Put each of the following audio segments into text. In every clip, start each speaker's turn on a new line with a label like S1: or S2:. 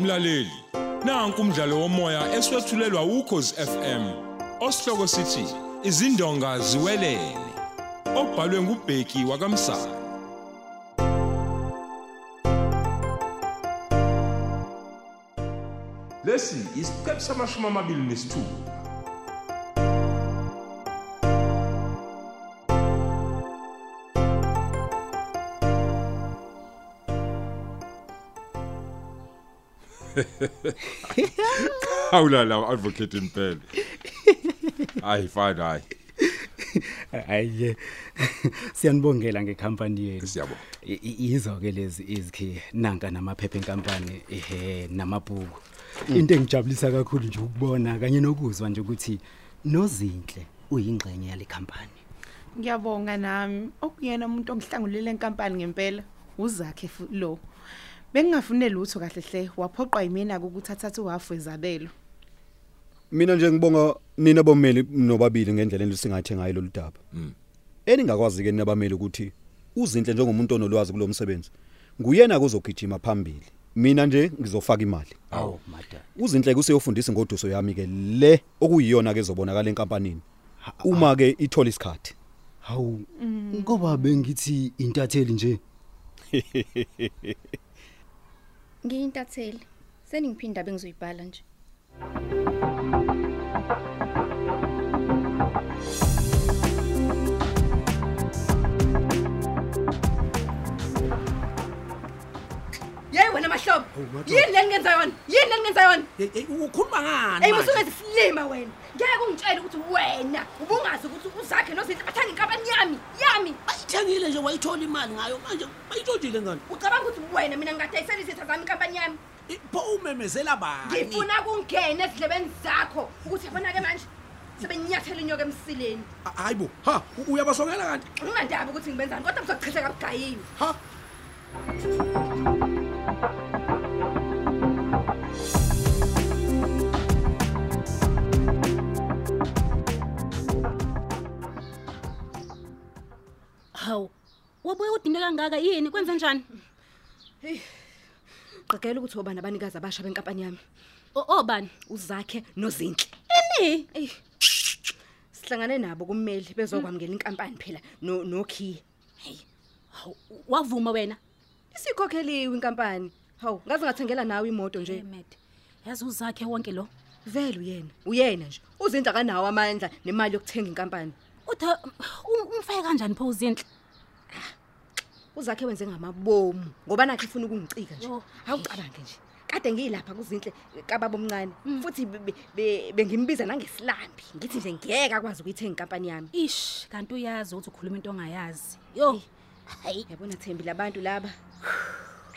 S1: Mlaleli, nanku umdlalo womoya eswetshulelwa ukhozi FM. Osihloko sithi izindonga ziwelele. Obhalwe ngubheki wakamsa. Lesi isiqephu samashumi amabili nesithupha. Awula la advocate impela. Hayi fine hayi.
S2: hayiye siyanibongela ngekhampani yenu
S1: Siyabonga.
S2: I- i- yizo ke lezi izikhi nanka namaphepha enkampani ehe namabhuku into engijabulisa kakhulu nje ukubona kanye nokuzwa nje ukuthi nozinhle uyingxenye yale khampani
S3: Ngiyabonga nami. Okuyena umuntu ongihlangulela inkampani ngempela uzakhe futhi lo. Bengingafune lutho kahle hle waphoqwa yimina ukuthi athathe uhafu ezabelo.
S4: mina nje ngibonga nina bomeli nobabili ngendlela endisingathe ngayo lolu daba eningakwazi ke nabameli ukuthi uzinhle njengomuntu onolwazi kulomsebenzi nguyena kuzogijima phambili mina nje ngizofaka imali
S2: awu madam
S4: uzinhle kuseyofundisa ngoduso yami ke le okuyiyona ke zobonakala enkampanini uma ke ithola isikhathi
S2: hawu ngoba bengithi intatheli nje
S5: Ngiyintatheli. Seningiphinda bengizoyibhala nje.
S6: yeyi wena mahlobo yini le ningenza yona yini le ningenza yona
S7: ukhuluma
S6: eyi
S7: ngani
S6: musuke zisilima wena ngeke ungitshele ukuthi wena ubungazi ukuthi uzakhe nozinhle bathenga inkampani yami yami
S7: bayithengile nje wayithola imali ngayo manje bayitshotshile ngani
S6: ucabanga ukuthi wena mina ngingadayisela izitha zami inkampani yami
S7: I- pho umemezela bani
S6: ngifuna kungena ezindlebeni zakho ukuthi yabona-ke manje sebenyathela inyoka emsileni
S7: A- hayi bo ha u- uyabasongela kanti
S6: ngingandaba ukuthi ngibenzani kodwa mzokuchitheka bugayiwe
S7: ha
S8: hawu wabuye udine kangaka yini kwenze njani
S6: qagela ukuthi oba nabanikazi abasha benkampani yami
S8: O- obani
S6: uzakhe nozinhle
S8: ini
S6: eyi sihlangane nabo kummeli bezokwamukela inkampani phela no- nokhiye
S8: hawu wavuma wena
S6: isikhokheliwe inkampani hawu ngaze ngathengela nawe imoto nje
S8: emed yazi uzakhe wonke lo
S6: vele uyena uyena nje uzinda kanawo amandla nemali yokuthenga inkampani
S8: uthi umfake kanjani pho uzinhle
S6: uzakhe wenze ngamabomu ngoba nakhe ufuna ukungicika nje
S8: Oh.
S6: awucabange nje kade ngiyilapha kuzinhle kababa omncane futhi be- be- bengimbiza nangesilambi ngithi nje ngeke akwazi ukuyithenga inkampani yami
S8: ish kanti uyazi ukuthi ukhuluma into ongayazi yo hayi
S6: yabona thembi labantu laba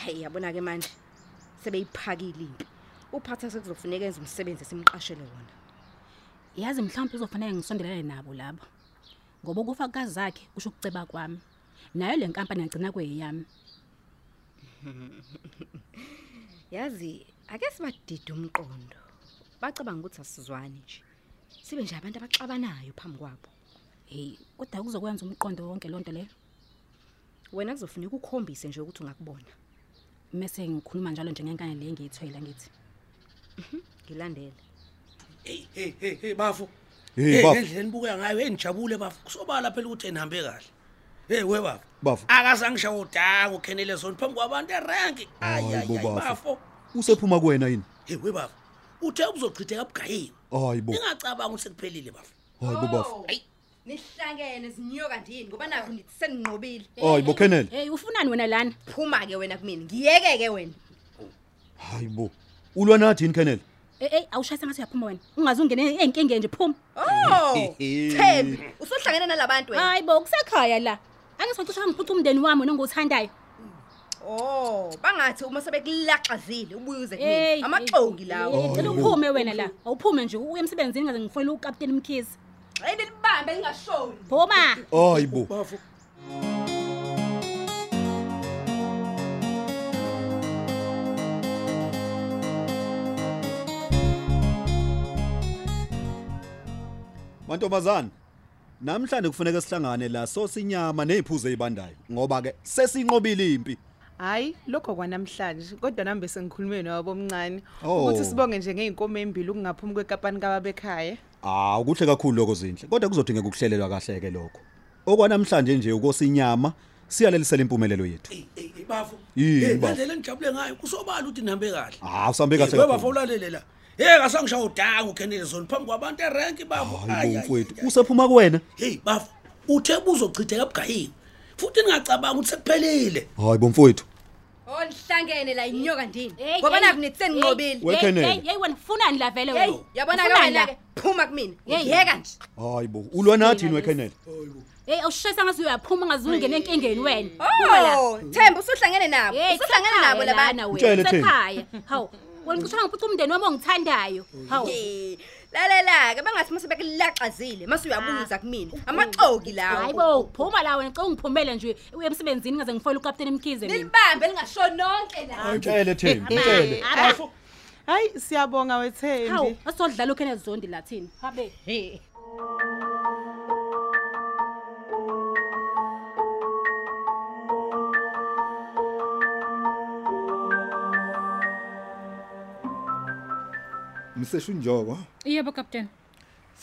S6: hayi yabona-ke manje sebeyiphakile impi uphatha sekuzofuneka enza umsebenzi esimqashele wona
S8: yazi mhlawumbe uzofanele ngisondelane nabo labo ngoba ukufa kukazakhe kusho ukuceba kwami nayo le nkampani yagcina kweyeyami
S6: yazi ake sibadide umqondo bacabanga ukuthi asizwani nje sibe nje abantu abaxabanayo phambi kwabo
S8: heyi kodwa kuzokwenza umqondo wonke loo nto leyo
S6: wena kuzofuneka ukhombise nje ukuthi ungakubona
S8: mese ngikhuluma njalo njengenkane le engiyithwela ngithi
S6: Mhm, ngilandele
S7: eyi hey hey hey bafo
S4: Hey,
S7: Eh,
S4: bafo.
S7: ngendlela enibukeka ngayo eyi ngijabule bafo kusobala phela ukuthi enihambe kahle hey we bafo
S4: Bafo.
S7: akazangishawo udanga ukhenele zona phambi kwabantu erenki
S4: Hayi bo,
S7: ayiayi
S4: bafo.
S7: bafo
S4: usephuma kuwena yini
S7: hey we bafo uthe uzochitheka bugayiwe
S4: hayi bo
S7: ningacabanga ukuthi sekuphelile bafo
S4: hayi bo bafo
S6: Oh, nihlangene zinyoka ndini ngoba nakho nithi seninqobile
S4: hayi bo Kenneth
S8: heyi ufunani wena lana
S6: phuma-ke wena kumina ngiyeke-ke wena
S4: hayi bo ulwa nathi yini Kenneth
S8: eyi awushayise ngathi uyaphuma wena ungaze ungene ey'nkingeni nje phuma
S6: o Oh, thembi usuhlangene nalabantu wena
S8: hayi bo kusekhaya la angisocisha ngiphutha umndeni wami nongiwuthandayo
S6: Oh, bangathi uma sebekulaxazile ubuye
S8: Hey,
S6: kimi. Amaxongi
S8: hey,
S6: lawo.
S8: hey, Cela uphume wena la. Awuphume nje uye emsebenzini ngaze ngifonele ukapteni Mkhize.
S6: Ayini libambe lingashoni.
S8: Phuma.
S4: hayi bo
S7: bafo
S4: Mantombazana, namhlanje kufuneka sihlangane la so sinyama neziphuzo ezibandayo ngoba ke sesinqobile impi.
S3: Hayi lokho kwanamhlanje kodwa nami bese ngikhulume nawo bomncane
S9: Oh.
S3: ukuthi sibonge nje ngeinkomo embili ukungaphumi kwekampani kababa ekhaya.
S9: Ah, ukuhle kakhulu lokho zinhle. Kodwa kuzodingeka ukuhlelelwa kahle ke lokho. Okwanamhlanje nje ukosinyama siyalelisela impumelelo yethu.
S10: Eyi, eyi, eyi, bafu
S9: Yini,
S10: Eh,
S9: bafo?
S10: ngendlela engijabule ngayo kusobala ukuthi nihambe kahle
S9: Ah, usambe kahle
S10: Eh, we, bafo
S9: kakhulu.
S10: ulalele la yeke asangishawa udanga ukenelezoni phambi kwabantu erenki bafo
S9: Hayi bo mfowethu, usephuma kuwena.
S10: heyi bafo uthe buzochitheka ebugayini futhi ningacabanga ukuthi sekuphelile
S9: Hayi bo mfowethu.
S8: Oh,
S5: Olihlangene la inyoka ndini.
S8: Hey,
S5: Ngoba
S8: hey,
S5: naku nitseni
S8: hey,
S5: ngobili.
S8: hey,
S9: Wekhenele.
S8: hey, Hey wena ufunani la vele
S5: Hey,
S8: wena?
S5: yabona ke
S8: Ufunani
S5: wena
S8: la?
S5: ke phuma kumina.
S8: Hey.
S5: Yeka nje.
S9: Hayi bo, ulwa nathi yini
S8: Mina lesi.
S9: wekhenele?
S8: Hey ushisa ngathi uyaphuma ngazi ungena enkingeni wena.
S5: Oh, Themba usuhlangene nabo.
S8: Hey,
S5: Usuhlangene
S8: sekhaya
S5: nabo labana.
S8: lana wena,
S9: Mtshele Thembi.
S8: sekhaya. Hawu. Wena ngicishwa ngiphuca umndeni wami ongithandayo. Hawu.
S5: Lalela ke bangathi mase bekulaxazile mase
S8: Ah,
S5: uyabuza kumina. Amaxoki
S8: Hayi
S5: lawo.
S8: bo, phuma la wena, ngicela ungiphumele nje emsebenzini ngaze ngifoyile uCaptain Mkhize mina.
S5: Nilibambe lingashoni nonke la.
S9: Mtshele Thembi, mtshele.
S8: Hawu,
S3: Hayi siyabonga wethembi.
S8: asizodlala ukhene zondi la thina. Habe.
S4: Mseshu Njoko,
S11: Yebo captain.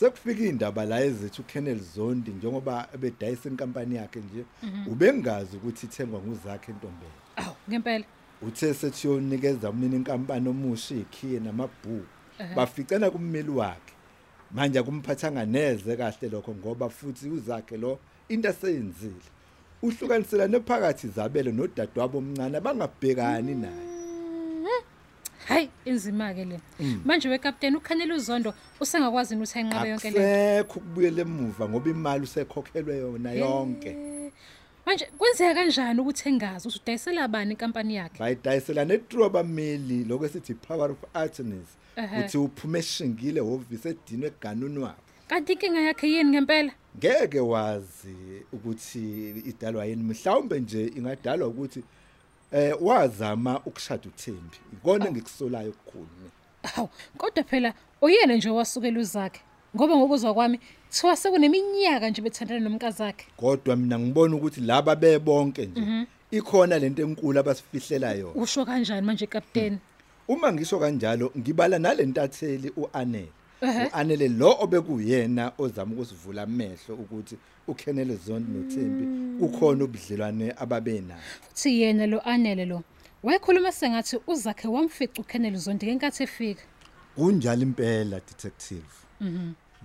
S4: sekufika indaba la ezithi uKenneth Zondi njengoba bedayisa inkampani yakhe nje, ubengazi ukuthi ithengwa nguzakhe Ntombela.
S11: Aw, ngempela.
S4: Uthe sethi yonikeza umnini inkampani omusha ikhiye namabhuku. Baficana kummeli wakhe. Manje kumphathanga neze kahle lokho ngoba futhi uzakhe lo into aseyenzile. Uhlukanisela nephakathi zabelo nodadewabo omncane bangabhekani naye.
S11: Hayi, inzima ke le. Manje we captain ukhanele uzondo usengakwazi ukuthi ayinqabe yonke le.
S4: akusekho ukubuyela emuva ngoba imali usekhokhelwe yona yonke
S11: Manje kwenzeka kanjani ukuthi engazi usudayisela abani inkampani yakhe?
S4: bayidayisela netroba meli lokho esithi power of attorneys
S11: Ehhe.
S4: uthi uphume eshingile hhovisi edinwe eganuni wabo
S11: Kanti inkinga yakhe yini ngempela?
S4: ngeke wazi ukuthi idalwa yini mhlawumbe nje ingadalwa ukuthi eh wazama ukushada uThembi
S11: Oh.
S4: ikona engikusolayo ukukhulu mina
S11: Aw, kodwa phela uyena nje wasukela uzakhe. Ngoba ngokuzwa kwami, kuthiwa sekuneminyaka nje bethandana nomkazakhe.
S4: kodwa mina ngibona ukuthi laba bebonke
S11: Mhm.
S4: nje ikhona lento enkulu abasifihlela yona
S11: Usho kanjani manje captain?
S4: Uma ngisho kanjalo ngibala nalentatheli uAnele. uAnele lo obekuyena ozama ukusivula amehlo ukuthi uKenneth Zondi noThembi kukhona ubudlelwane ababenayo.
S11: Futhi yena lo anele lo. Wayekhuluma sengathi uzakhe wamfica ukhanele uzondo ngenkathi efika.
S4: Kunjalo impela detective.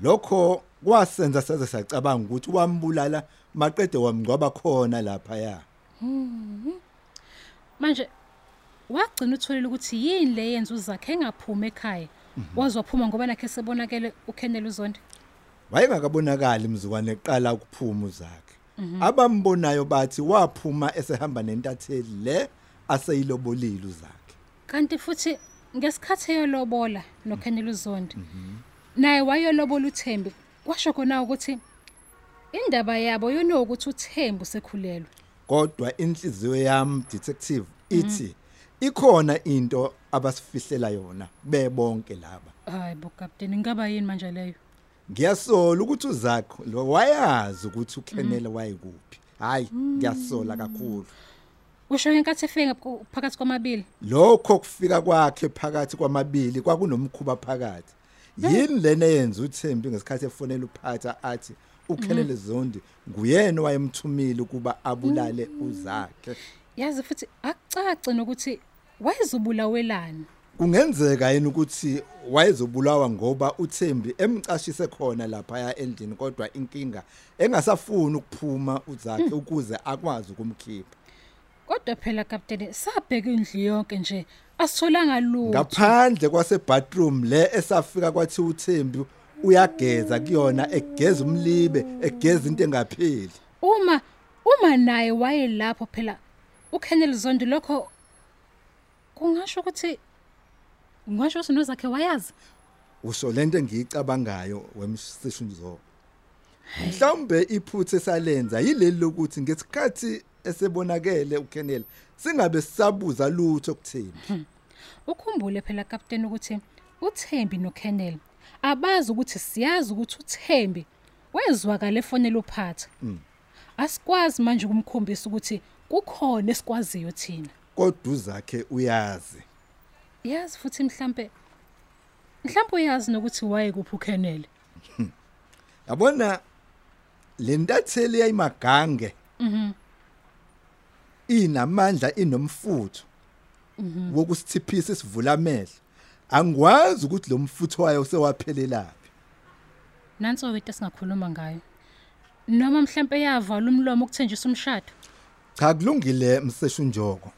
S4: Lokho kwasenza saze sacabanga ukuthi wambulala maqede wamngcwaba khona lapha ya.
S11: manje wagcina utholile ukuthi yini le yenza uzakhe engaphumi ekhaya wazwaphuma ngoba nakhe sebonakele ukennel uzondi
S4: Wayengakabonakali mzukwane eqala ukuphuma zakhe. Abambonayo bathi waphuma esehamba nentatheli le aseyilobolile zakhe.
S11: kanti futhi ngesikhathi eyolobola nokennel uzondi naye wayolobola uthembi kwasho kona ukuthi indaba yabo yono ukuthi uthembi usekhulelwe
S4: kodwa inhliziyo yami detective ithi ikhona into abasifihlela yona bebonke laba
S11: hayi bo captain ngaba yini manje leyo
S4: ngiyasola ukuthi uzakho lo wayazi ukuthi uKenneth wayekuphi hayi ngiyasola kakhulu
S11: usho ngenkathi efika ku- phakathi kwamabili
S4: lokho kufika kwakhe phakathi kwamabili kwakunomkhuba phakathi yini lena yenza uThembi ngesikhathi efonela uphatha athi uKenneth Zondi nguyena wayemthumile ukuba abulale uzakhe
S11: yazi futhi akucace nokuthi wayezobulawelani
S4: kungenzeka yini ukuthi wayezobulawa ngoba uThembi emcashise khona lapha endlini kodwa inkinga engasafuni ukuphuma uzakhe ukuze akwazi ukumkhipha
S11: Kodwa phela kapteni sabheka indlu yonke nje asitholanga lutho.
S4: ngaphandle kwasebathroom le esafika kwathi uThembi uyageza kuyona egeza umlibe egeza into engapheli
S11: Uma uma naye wayelapho phela uKenneth Zondi lokho kungasho ukuthi ngisho ukuthi nozakhe wayazi.
S4: usho lento engiyicabangayo wemsishunzo mhlawumbe iphutha esalenza yileli lokuthi ngesikhathi esebonakele uKenneth singabe sisabuza lutho kuThembi
S11: Ukhumbule phela kapteni ukuthi uThembi noKenneth abazi ukuthi siyazi ukuthi uThembi wezwakala efonela uphatha. Asikwazi manje ukumkhombisa ukuthi kukhona esikwaziyo thina.
S4: kodwa uzakhe uyazi
S11: yazi futhi mhlambe mhlambe uyazi nokuthi waye kuphi uKhenele
S4: yabona le ntatheli yayimagange
S11: mhm
S4: inamandla inomfutho
S11: mhm
S4: wokusithiphisa isivula amehlo angikwazi ukuthi lo mfutho wayo sewaphelelaphi
S11: nanso wethu singakhuluma ngayo noma mhlambe yavala umlomo ukuthenjisa umshado
S4: cha kulungile mseshunjoko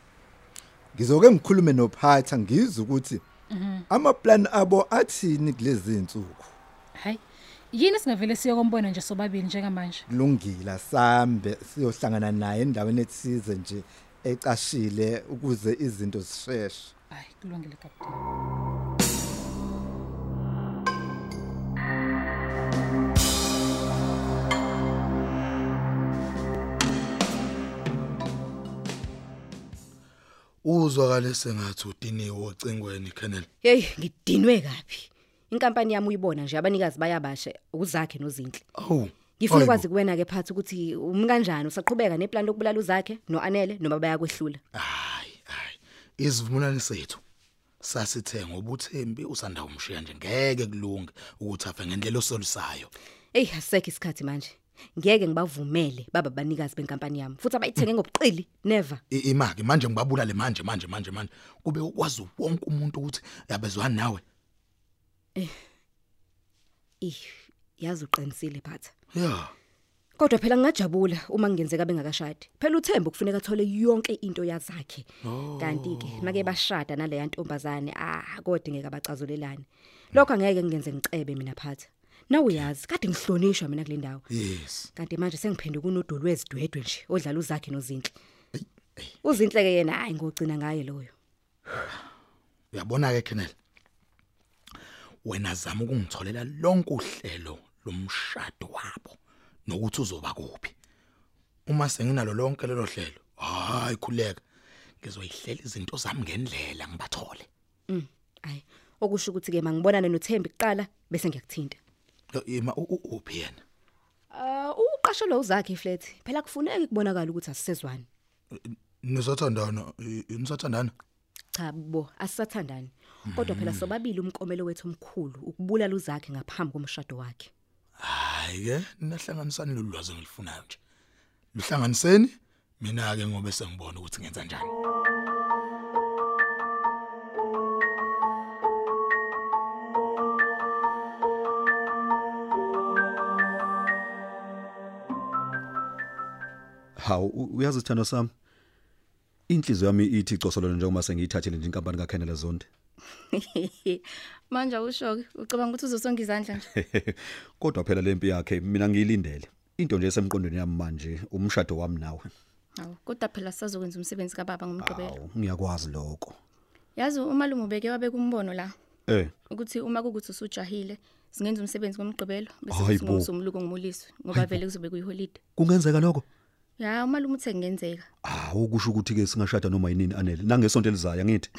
S4: ngizoke ngikhulume nophatha ngizwe ukuthi
S11: mhm
S4: amaplan abo athini kulezi insuku
S11: hayi yini singavele siye kombona nje sobabili njengamanje
S4: kulungile sambe siyohlangana naye endaweni ethize nje ecashile ukuze izinto zisheshe
S11: hayi kulungile kapteni
S7: uzwakale sengathi udiniwe ocingweni Kennel
S6: Hey, ngidinwe kabi. Inkampani yami uyibona nje abanikazi bayabashe uzakhe nozinhle.
S7: awu
S6: Ngifuna
S7: Hayibo.
S6: ukwazi kuwena ke phathi ukuthi umkanjani usaqhubeka neplan lokubulala uzakhe noanele noma bayakwehlula.
S7: isivumelwano sethu sasithenga ubuthembi usanda umshiya nje ngeke kulunge ukuthi afe ngendlela osolisayo
S6: Hey, asekho isikhathi manje. Ngeke ngibavumele baba banikazi benkampani yami. Futhi abayithenge ngobuqili, never.
S7: I- imaki manje ngibabulale manje manje manje manje kube ukwazi wonke umuntu ukuthi yabezwana nawe
S6: Ih, yazi uqinisile phatha.
S7: ya
S6: Kodwa phela ngingajabula uma kungenzeka bengakashadi. Phela uThembu kufuneka athole yonke into yazakhe.
S7: Oh.
S6: Kanti ke make bashada naleya ntombazane ah kodingeka bacazulelane. Lokho angeke ngilenze ngicebe mina phatha. Na uyazi kade ngihlonishwa mina kule ndawo.
S7: yes
S6: Kanti manje sengiphenduka kunodolwe ezidwedwe nje odlala uzakhe nozinhle. Uzinhle ke yena hayi ngogcina ngaye loyo.
S7: uyabona ke Kennel wena zama ukungitholela lonke uhlelo lomshado wabo nokuthi uzoba kuphi uma senginalo lonke lelo hlelo hayi khuleka ngizoyihlela izinto zami ngendlela ngibathole
S6: Mm. Hayi okusho ukuthi ke mangibonane noThembi kuqala bese ngiyakuthinta.
S7: Yo, ima u- u- uphi yena
S6: Ah uqashelwe uzakhe iflat. Phela kufuneki kubonakala ukuthi asisezwani.
S7: nisathandana i- i- nisathandana
S6: cha bo asisathandani kodwa phela
S9: Mm.
S6: sobabili umkomelo wethu omkhulu ukubulala uzakhe ngaphambi komshado wakhe
S7: hayi ke nahlanganisani lolu lwazi engilifunayo nje luhlanganiseni mina ke ngobe sengibona ukuthi ngenza njani
S9: Hawu u- uyazi sithando sami. Inhliziyo yami ithi icosolana njengoba sengiyithathele nje inkampani kaKhenela Zondi.
S12: manje awusho-ke ucabanga ukuthi uzosonga izandla nje
S9: Kodwa phela lempi yakhe mina ngiyilindele. Into nje esemqondweni yami manje umshado wami nawe.
S12: awu kodwa phela sisazokwenza umsebenzi kababa ngomgqibelo
S9: Ngiyakwazi lokho.
S12: yazi umalume ubeke wabeka umbono la
S9: Eh,
S12: ukuthi uma kukuthi usujahile singenza umsebenzi ngomgqibelo bese
S9: Hayi bo.
S12: kusungumsumluko ngomuliswe ngoba
S9: Hayi bo.
S12: vele kuzobe kuyiholide
S9: kungenzeka lokho?
S12: ya umalume uthe kungenzeka
S9: Hawu kusho ukuthi ke singashada noma yini anele. Nangesonto elizayo ngithi.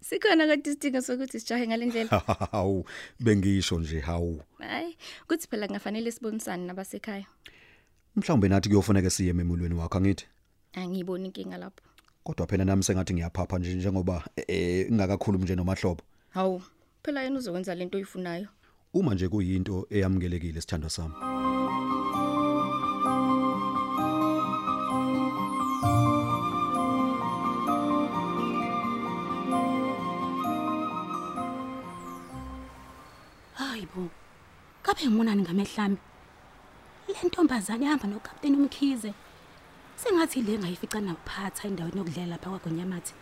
S12: sikhona kodwa isidingo sokuthi sijahe ngale ndlela
S9: Hawu bengisho nje hawu.
S12: hayi kuthi phela kungafanele sibonisane nabasekhaya
S9: Mhlawumbe nathi kuyofuneka siye ememulweni wakho ngithi.
S12: angiyiboni inkinga lapho
S9: Kodwa phela nami sengathi ngiyaphapha nje njengoba eh ngingakakhulumi nje nomahlobo.
S12: hawu phela yena uzokwenza lento oyifunayo
S9: Uma nje kuyinto eyamukelekile sithando sami.
S8: Hayibo. Kabe ngimonani ngamehlami. Le ntombazane ihamba nokapteni uMkhize. Sengathi le ngayifica naphatha endaweni yokudlela lapha kwaGonyamathi.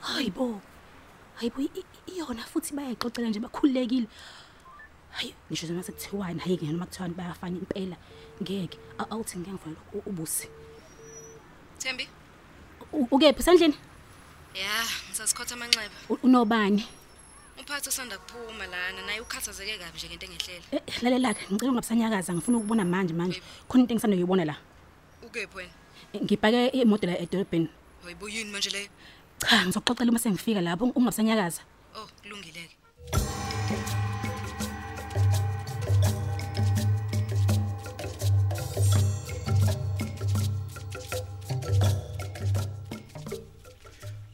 S8: Hayibo. Hayibo i- i- iyona futhi bayayixoxela nje bakhululekile. Hayi ngisho noma sekuthiwani hayi ngeke noma kuthiwani bayafana impela. Ngeke A- awuthi ngeke ngivule u- ubusi.
S5: Thembi?
S8: U- Ukephi sandleni?
S5: Ya, ngisasikhotha amanxeba.
S8: U- Unobani?
S5: Umphathi osanda kuphuma lana naye ukhathazeke kabi nje ngento engehlele.
S8: Eh, Lalela ke ngicela ungabusanyakaza ngifuna ukubona manje manje. Khona into engisanda kuyibona la.
S5: Ukephi wena?
S8: Eh, Ngibhake imoto la edolobheni.
S5: Hayibo yini manje leyo?
S8: Cha, ngizoxoxela uma sengifika lapho ungabusanyakaza.
S5: Oh, kulungile ke.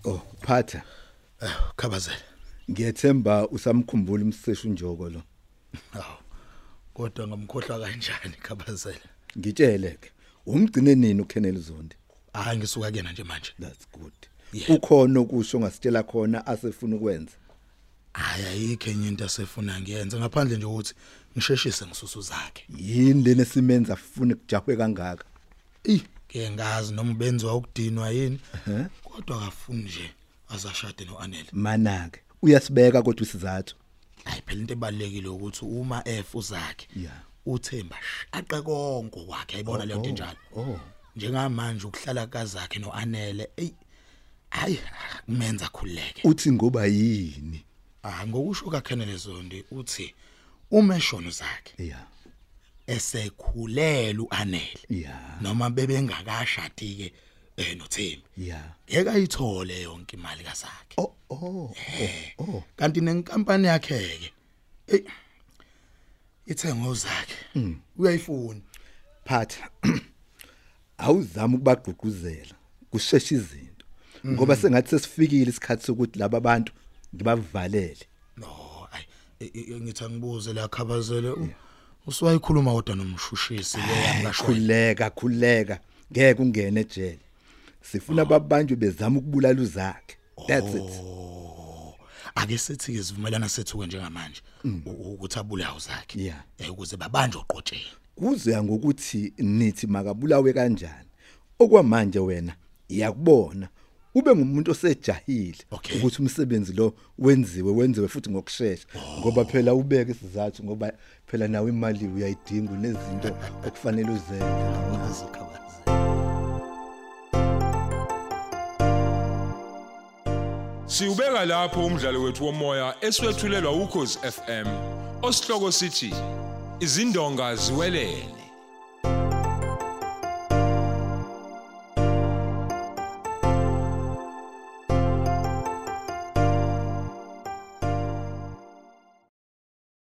S4: Oh, phatha.
S7: Eh, khabazela.
S4: Ngiyethemba usamkhumbula umseshu njoko lo.
S7: Hawu. Kodwa ngamkhohlwa kanjani khabazela?
S4: Ngitshele ke. Umgcine nini uKenneth Zondi?
S7: Hayi ngisuka kuyena nje manje.
S4: That's good. Ukhona okusho ngasitshela khona asefuna ukwenza.
S7: Hayi ayikho enye into asefuna ngiyenze ngaphandle nje ukuthi ngisheshise ngisusu zakhe.
S4: Yini lena simenza afune kujahwe kangaka?
S7: Ke ngazi noma benziwa ukudinwa yini. Kodwa akafuni nje azashade noanele.
S4: Manake uyasibeka kodwa isizathu.
S7: Hayi phela into ebalekile ukuthi uma F uzakhe
S4: Yeah.
S7: uthemba aqe konke kwakhe ayibona le nto njalo.
S4: Oh.
S7: Njengamanje ukuhlala kazakhe noanele ey hayi kumenza khuleke.
S4: Uthi ngoba yini?
S7: Ah ngokusho kaKhenele Zondi uthi umeshono zakhe
S4: yeah
S7: esekhulela uanele
S4: yeah
S7: noma bebengakashadi ke eh noThembi
S4: yeah
S7: ngeke ayithole yonke imali kazakhe
S4: oh oh oh
S7: kanti nenkampani yakhe ke ey ithengo zakhe
S4: Hmm.
S7: uyayifuna
S4: phatha awuzama ukubagqugquzela kusheshe izinto
S7: Mhm.
S4: ngoba sengathi sesifikile isikhathi sokuthi laba bantu ngibavalele
S7: no ay ngithi angibuze la khabazele usiwayikhuluma kodwa nomshushisi le yangashwa
S4: Eh, khuleka khuleka ngeke ungene ejele sifuna babanjwe bezama ukubulala uzakhe that's it
S7: Oh. ake sithi ke sivumelana sethu ke njengamanje u- ukuthi abulawo zakhe
S4: Hmm. yeah
S7: eh, ukuze babanjwe oqotsheni
S4: kuzoya ngokuthi nithi makabulawe kanjani okwamanje wena yakubona ube ngumuntu osejahile ukuthi umsebenzi lo wenziwe wenziwe futhi ngokusheshsha ngoba phela ubeke sizathu ngoba phela nawe imali uyayidinga nezinto okufanele uzenze
S1: Siubeka lapho umdlalo wethu womoya eswetshulelwa ukhozi FM. Osihloko sithi izindonga ziwelele.